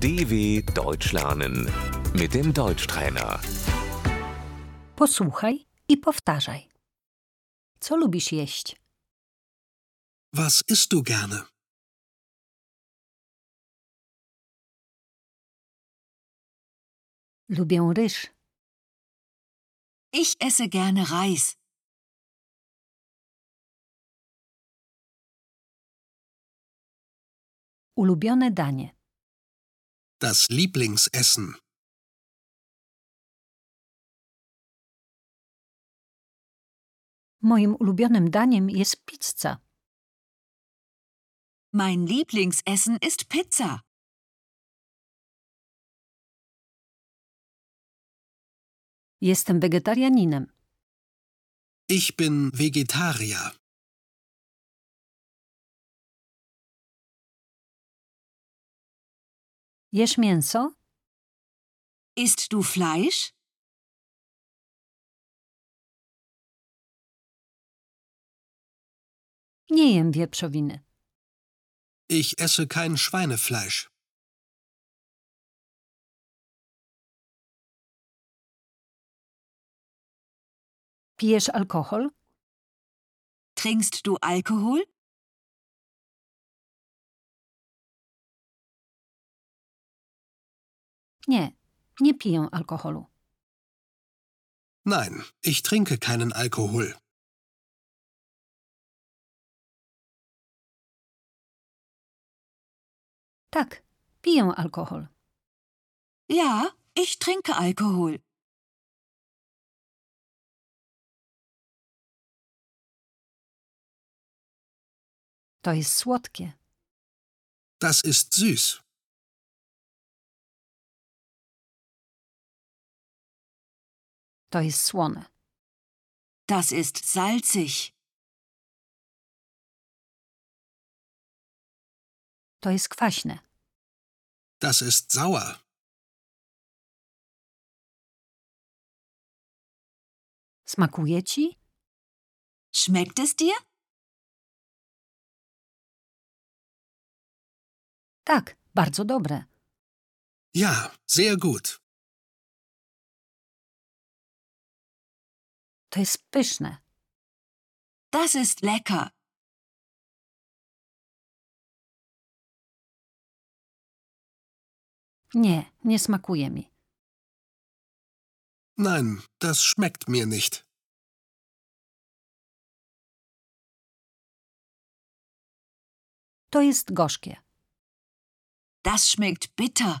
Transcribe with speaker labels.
Speaker 1: DW Deutsch lernen mit dem Deutschtrainer.
Speaker 2: Posłuchaj i powtarzaj. Co lubisz jeść?
Speaker 3: Was isst du gerne?
Speaker 2: Lubię ryż.
Speaker 4: Ich esse gerne Reis.
Speaker 2: Ulubione danie.
Speaker 3: Das Lieblingsessen.
Speaker 2: Moim ulubionym daniem jest pizza.
Speaker 4: Mein Lieblingsessen ist Pizza.
Speaker 2: Jestem wegetarianinem.
Speaker 3: Ich bin Vegetarier.
Speaker 2: Jesz mięso?
Speaker 4: Isst du Fleisch?
Speaker 2: Nie jem wieprzowiny.
Speaker 3: Ich esse kein Schweinefleisch.
Speaker 2: Pijesz alkohol?
Speaker 4: Trinkst du Alkohol?
Speaker 2: Nie, nie piję alkoholu.
Speaker 3: Nein, ich trinke keinen Alkohol.
Speaker 2: Tak, piję alkohol.
Speaker 4: Ja, ich trinke Alkohol.
Speaker 2: To jest słodkie.
Speaker 3: Das ist süß.
Speaker 2: To jest słone.
Speaker 4: Das ist salzig.
Speaker 2: To jest kwaśne.
Speaker 3: Das ist sauer.
Speaker 2: Smakuje ci?
Speaker 4: Schmeckt es dir?
Speaker 2: Tak, bardzo dobre.
Speaker 3: Ja, sehr gut.
Speaker 2: To jest pyszne.
Speaker 4: Das ist lecker.
Speaker 2: Nie, nie smakuje mi.
Speaker 3: Nein, das schmeckt mir nicht.
Speaker 2: To jest gorzkie.
Speaker 4: Das schmeckt bitter.